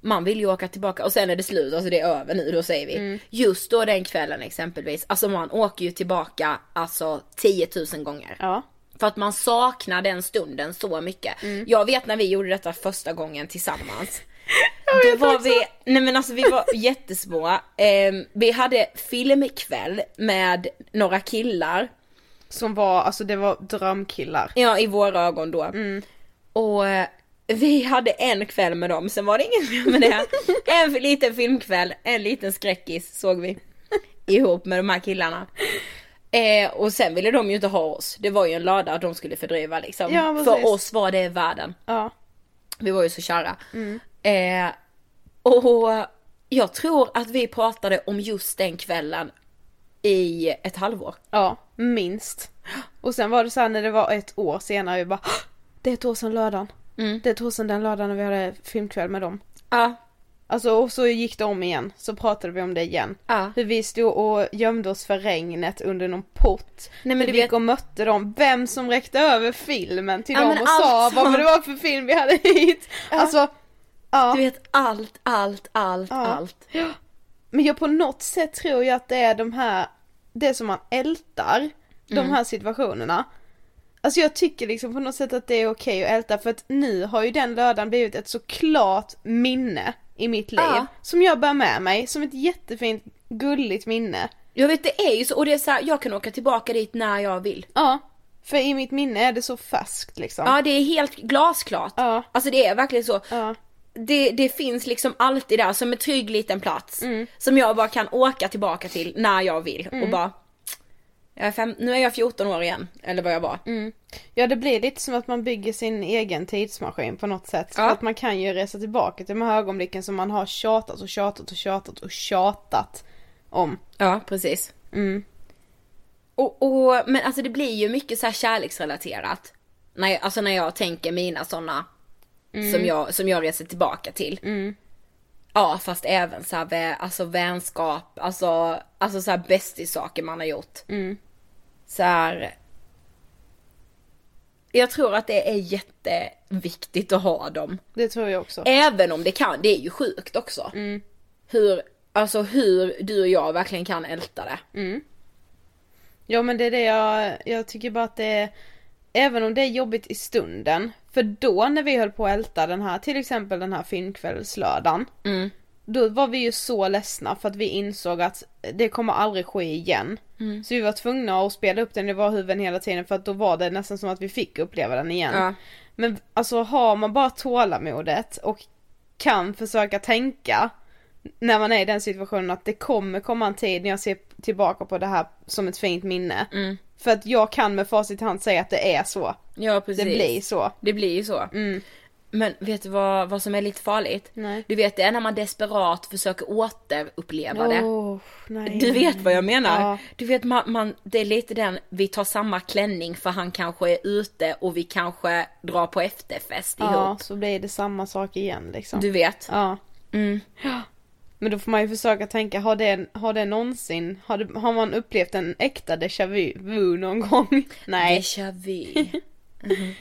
S3: Man vill ju åka tillbaka och sen är det slut, alltså det är över nu då säger vi.
S4: Mm.
S3: Just då den kvällen exempelvis, alltså man åker ju tillbaka alltså 10 000 gånger.
S4: Ja.
S3: För att man saknar den stunden så mycket.
S4: Mm.
S3: Jag vet när vi gjorde detta första gången tillsammans. Då var vi, nej men alltså vi var jättesmå. Ehm, vi hade filmkväll med några killar.
S4: Som var, alltså det var drömkillar.
S3: Ja, i våra ögon då.
S4: Mm.
S3: Och eh, vi hade en kväll med dem, sen var det inget mer med det. En liten filmkväll, en liten skräckis såg vi. Ihop med de här killarna. Eh, och sen ville de ju inte ha oss, det var ju en lördag de skulle fördriva liksom.
S4: Ja, precis.
S3: För oss var det världen.
S4: Ja.
S3: Vi var ju så kära.
S4: Mm.
S3: Eh, och jag tror att vi pratade om just den kvällen i ett halvår.
S4: Ja, minst. Och sen var det så här när det var ett år senare, vi bara "Hå! Det är ett år sedan lördagen.
S3: Mm.
S4: Det är ett år sedan den lördagen när vi hade filmkväll med dem.
S3: Ja,
S4: Alltså och så gick det om igen, så pratade vi om det igen.
S3: Ja.
S4: Hur vi stod och gömde oss för regnet under någon port.
S3: men
S4: vi
S3: du
S4: gick
S3: vet-
S4: och mötte dem, vem som räckte över filmen till
S3: Ja,
S4: dem
S3: men
S4: och sa
S3: alltså-
S4: vad det var för film vi hade hit. Alltså, ja.
S3: du vet allt, allt, allt,
S4: Ja.
S3: allt.
S4: Men jag på något sätt tror jag att det är de här, det som man ältar,
S3: Mm.
S4: de här situationerna. Alltså jag tycker liksom på något sätt att det är okej att älta för att nu har ju den lördagen blivit ett så klart minne i mitt liv.
S3: Ja.
S4: Som jag bär med mig, som ett jättefint gulligt minne.
S3: Jag vet det är ju så, och det är så här, jag kan åka tillbaka dit när jag vill.
S4: Ja. För i mitt minne är det så färskt liksom.
S3: Ja det är helt glasklart.
S4: Ja.
S3: Alltså det är verkligen så.
S4: Ja.
S3: Det, det finns liksom alltid där som en trygg liten plats.
S4: Mm.
S3: Som jag bara kan åka tillbaka till när jag vill och bara jag är fem, nu är jag 14 år igen, eller vad jag var.
S4: Mm. Ja det blir lite som att man bygger sin egen tidsmaskin på något sätt.
S3: Ja.
S4: För att man kan ju resa tillbaka till de här ögonblicken som man har tjatat och tjatat och tjatat och tjatat om.
S3: Ja, precis. Mm. Och, och, men alltså det blir ju mycket så här kärleksrelaterat. När jag, alltså när jag tänker mina sådana som, jag, som jag reser tillbaka till. Ja, fast även så här, vä- alltså vänskap, alltså, alltså så här bästissaker man har gjort. Så här. Jag tror att det är jätteviktigt att ha dem.
S4: Det tror jag också.
S3: Även om det kan, det är ju sjukt också.
S4: Mm.
S3: Hur, alltså hur du och jag verkligen kan älta det.
S4: Mm. Ja men det är det jag, jag tycker bara att det är, även om det är jobbigt i stunden, för då när vi höll på att älta den här, till exempel den här filmkvällslördagen, då var vi ju så ledsna för att vi insåg att det kommer aldrig ske igen.
S3: Mm.
S4: Så vi var tvungna att spela upp den i våra huvuden hela tiden för att då var det nästan som att vi fick uppleva den igen.
S3: Ja.
S4: Men alltså har man bara tålamodet och kan försöka tänka när man är i den situationen att det kommer komma en tid när jag ser tillbaka på det här som ett fint minne.
S3: Mm.
S4: För att jag kan med facit i hand säga att det är så.
S3: Ja precis.
S4: Det blir så. Mm.
S3: Det blir ju så. Men vet du vad, vad som är lite farligt?
S4: Nej.
S3: Du vet det är när man desperat försöker återuppleva det.
S4: Åh, nej.
S3: Du vet vad jag menar?
S4: Ja.
S3: Du vet man, man, det är lite den, vi tar samma klänning för han kanske är ute och vi kanske drar på efterfest
S4: Ja,
S3: ihop.
S4: så blir det samma sak igen liksom.
S3: Du vet.
S4: Ja.
S3: Mm.
S4: Men då får man ju försöka tänka, har det, har det någonsin, har, det, har man upplevt en äkta déjà vu- vu någon gång? Nej.
S3: Déjà vu. Mhm.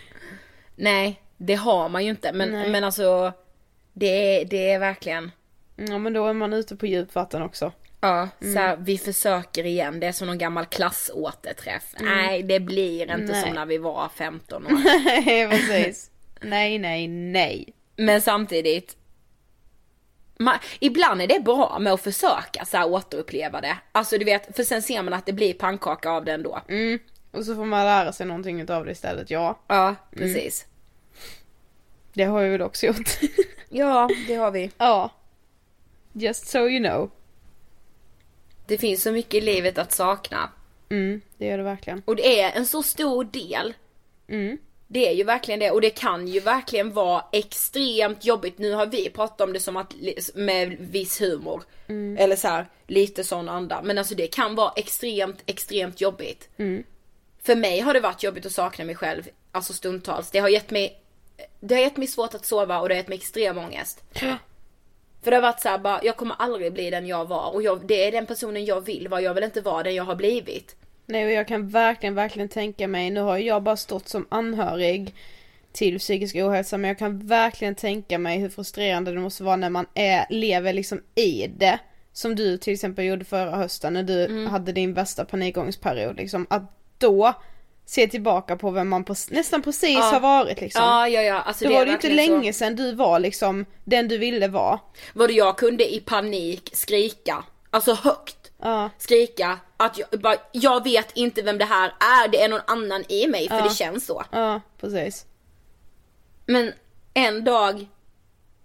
S3: Nej, det har man ju inte. Men,
S4: Nej.
S3: men alltså, det är, det är verkligen,
S4: Ja men då är man ute på djupvatten också.
S3: ja, så här, vi försöker igen. Det är som någon gammal klassåterträff. Nej, det blir inte
S4: Nej.
S3: som när vi var 15 år.
S4: Nej precis. nej nej nej.
S3: Men samtidigt, man, ibland är det bra med att försöka så här, återuppleva det. Alltså du vet, för sen ser man att det blir pannkaka av det ändå.
S4: Och så får man lära sig någonting utav det istället, ja.
S3: Ja, precis.
S4: Det har jag väl också gjort.
S3: Ja, det har vi.
S4: ja. Just so you know.
S3: Det finns så mycket i livet att sakna.
S4: Mm, det gör det verkligen.
S3: Och det är en så stor del. Det är ju verkligen det och det kan ju verkligen vara extremt jobbigt. Nu har vi pratat om det som att med viss humor. Eller så här, lite sån anda. Men alltså det kan vara extremt, extremt jobbigt. För mig har det varit jobbigt att sakna mig själv, alltså stundtals. Det har gett mig, det har gett mig svårt att sova och det har gett mig extrem ångest. För det har varit så här, bara, jag kommer aldrig bli den jag var och jag, det är den personen jag vill vara. Jag vill inte vara den jag har blivit.
S4: Nej och jag kan verkligen, verkligen tänka mig, nu har jag bara stått som anhörig till psykisk ohälsa men jag kan verkligen tänka mig hur frustrerande det måste vara när man är, lever liksom i det. Som du
S3: Mm.
S4: till exempel gjorde förra hösten när du hade din värsta panikångestperiod liksom. Att då se tillbaka på vem man på, nästan precis
S3: Ja.
S4: har varit liksom.
S3: Ja, ja, ja. Alltså,
S4: Då
S3: är
S4: var det ju inte
S3: verkligen så.
S4: länge sedan du var liksom den du ville vara.
S3: Vad jag kunde i panik skrika, alltså högt.
S4: Ja.
S3: Skrika att jag, bara, jag vet inte vem det här är, det är någon annan i mig för
S4: Ja.
S3: det känns så.
S4: Ja, precis.
S3: Men en dag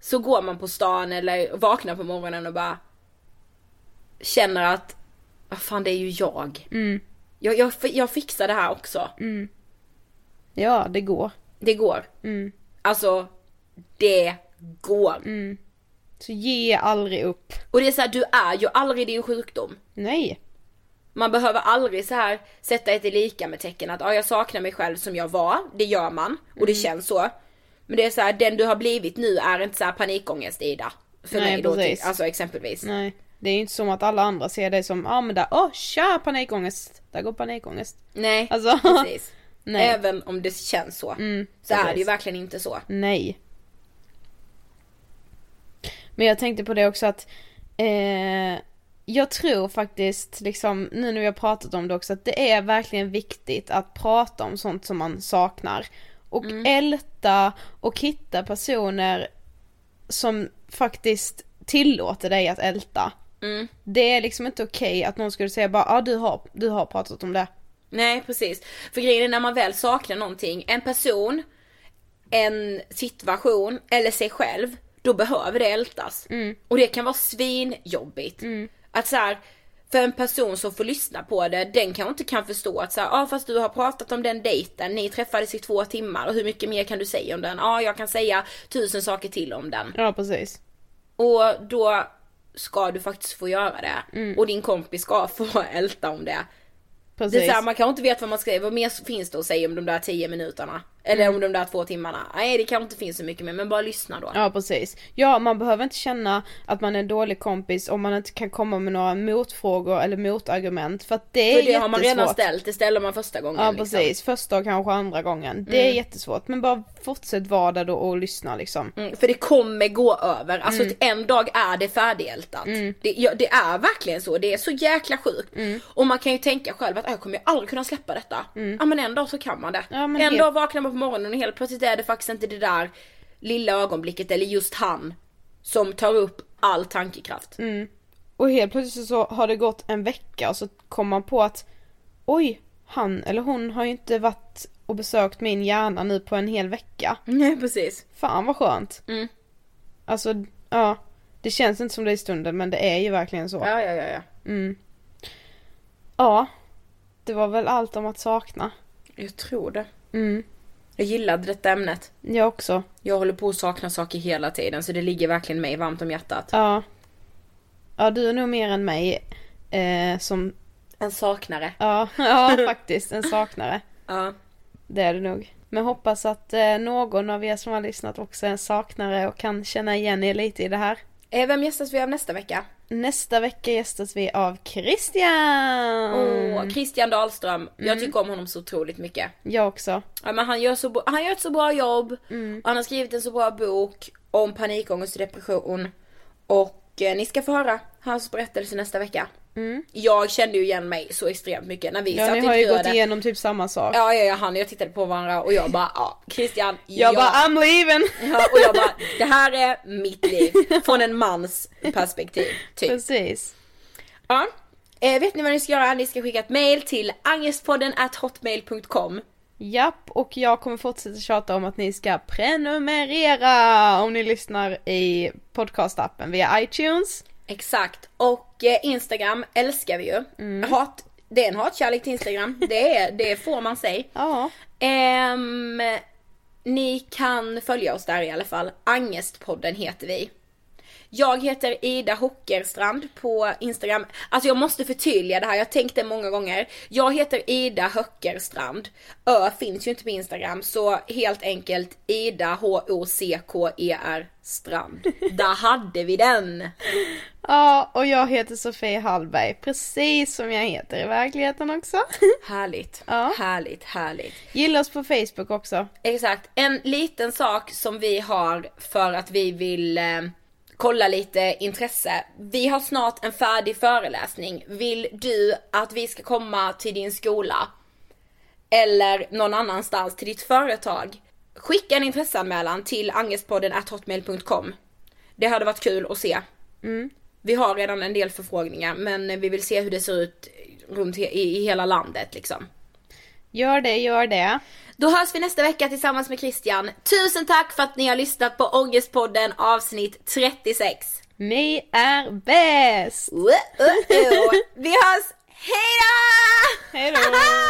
S3: så går man på stan eller vaknar på morgonen och bara känner att vad fan det är ju jag.
S4: Mm.
S3: Jag, jag. fi- jag fixar det här också.
S4: Ja, det går.
S3: Det går.
S4: Mm.
S3: Alltså, det går.
S4: Så ge aldrig upp.
S3: Och det är så här, du är ju aldrig din sjukdom.
S4: Nej.
S3: Man behöver aldrig så här sätta ett lika med tecken att ah, jag saknar mig själv som jag var, det gör man och
S4: Mm.
S3: det känns så. Men det är så här, den du har blivit nu är inte så här panikångest Ida. För
S4: Nej,
S3: mig då, till,
S4: precis.
S3: alltså exempelvis.
S4: Nej. Det är ju inte som att alla andra ser dig som, ja ah, men där, åh tja panikångest. Där går panikångest.
S3: Nej,
S4: Alltså,
S3: precis.
S4: nej. Mm,
S3: Även om det känns så. så är det ju verkligen inte så.
S4: Nej. Men jag tänkte på det också att eh, jag tror faktiskt liksom nu när vi har pratat om det också att det är verkligen viktigt att prata om sånt som man saknar. Och
S3: Mm.
S4: älta och hitta personer som faktiskt tillåter dig att älta.
S3: Mm.
S4: Det är liksom inte okej att någon skulle säga bara ja ah, du, har, du har pratat om det.
S3: Nej precis. För grejen är när man väl saknar någonting, en person, en situation eller sig själv, då behöver det ältas. Och det kan vara svinjobbigt. Att så här, för en person som får lyssna på det, den kanske inte kan förstå att så här, ah, fast du har pratat om den dejten, ni träffades i två timmar och hur mycket mer kan du säga om den? Ja, ah, jag kan säga tusen saker till om den.
S4: Ja precis.
S3: Och då ska du faktiskt få göra det. Och din kompis ska få älta om det.
S4: precis.
S3: Det är så här, man kanske inte vet vad man ska vad mer finns det att säga om de där 10 minuterna? Eller
S4: Mm.
S3: om de där två timmarna? Nej det kanske inte finns så mycket mer, men bara lyssna då.
S4: Ja precis. Ja man behöver inte känna att man är en dålig kompis om man inte kan komma med några motfrågor eller motargument för att det är
S3: För det har man redan
S4: jättesvårt.
S3: ställt, det ställer man första gången.
S4: Ja
S3: liksom. Mm.
S4: precis, första och kanske andra gången. Det är jättesvårt men bara fortsätt vara där då och lyssna liksom.
S3: Mm, för det kommer gå över, alltså
S4: Mm.
S3: en dag är det färdigältat. Det, ja, det är verkligen så, det är så jäkla sjukt.
S4: Mm.
S3: Och man kan ju tänka själv att "Ah, jag kommer ju aldrig kunna släppa detta. Ja men en dag så kan man det.
S4: Ja,
S3: en
S4: men helt-
S3: dag vaknar man på morgonen och helt plötsligt är det faktiskt inte det där lilla ögonblicket eller just han som tar upp all tankekraft.
S4: Mm. Och helt plötsligt så har det gått en vecka och så kommer man på att oj, han eller hon har ju inte varit och besökt min hjärna nu på en hel vecka.
S3: Nej precis.
S4: Fan vad skönt.
S3: Mm.
S4: Alltså ja, det känns inte som det i stunden men det är ju verkligen så.
S3: Ja, ja, ja, ja.
S4: Ja. Det var väl allt om att sakna.
S3: Jag tror det.
S4: Mm.
S3: Jag gillade detta ämnet.
S4: Jag också.
S3: Jag håller på att sakna saker hela tiden så det ligger verkligen mig varmt om hjärtat.
S4: Ja. Ja, du är nog mer än mig. Eh, som,
S3: En saknare.
S4: ja, ja faktiskt, en saknare.
S3: Ja.
S4: Det är du nog. Men hoppas att eh, någon av er som har lyssnat också är en saknare och kan känna igen er lite i det här.
S3: Eh, Vem gästas vi av nästa vecka?
S4: Nästa vecka gästas vi av Christian!
S3: Åh, Christian Dahlström. Jag tycker om honom så otroligt mycket.
S4: Jag också.
S3: Ja, men han, gör så bo- han gör ett så bra jobb. Och han har skrivit en så bra bok om panikångest och depression. Och eh, ni ska få höra hans berättelse nästa vecka. Jag kände ju igen mig så extremt mycket när vi
S4: Ja,
S3: satt
S4: ni
S3: och
S4: har ju gått
S3: intervjuade.
S4: igenom typ samma sak.
S3: Ja, ja, ja, han och jag tittade på varandra och jag bara, ja, Christian,
S4: jag bara I'm leaving!
S3: Ja, och jag bara, det här är mitt liv. Från en mans perspektiv. Typ.
S4: Precis.
S3: Ja. Eh, vet ni vad ni ska göra? Ni ska skicka ett mail till angestpodden at hotmail.com.
S4: Japp, och jag kommer fortsätta tjata om att ni ska prenumerera om ni lyssnar i podcastappen via iTunes.
S3: Exakt. Och eh, Instagram älskar vi ju. Hat, det är en hatkärlek till Instagram. Det, är, det får man säga.
S4: Ja.
S3: Ehm, ni kan följa oss där i alla fall. Angestpodden heter vi. Jag heter Ida Hockerstrand på Instagram. Alltså jag måste förtydliga det här, jag har tänkt det många gånger. Jag heter Ida Höckerstrand. Ö finns ju inte på Instagram, så helt enkelt Ida H-O-C-K-E-R E Strand. Där hade vi den!
S4: Ja, och jag heter Sofie Hallberg, precis som jag heter i verkligheten också.
S3: Härligt,
S4: Ja.
S3: härligt, härligt.
S4: Gilla oss på Facebook också.
S3: Exakt. En liten sak som vi har för att vi vill eh, kolla lite intresse. Vi har snart en färdig föreläsning. Vill du att vi ska komma till din skola? eller någon annanstans till ditt företag. Skicka en intresseanmälan till angestpodden hotmail.com. Det hade varit kul att se. Vi har redan en del förfrågningar men vi vill se hur det ser ut runt he- i, i hela landet liksom.
S4: Gör det, gör det.
S3: Då hörs vi nästa vecka tillsammans med Christian. Tusen tack för att ni har lyssnat på Ångestpodden avsnitt 36.
S4: Ni är bäst!
S3: Uh, uh, uh. Vi hörs, hejdå!
S4: Hej då!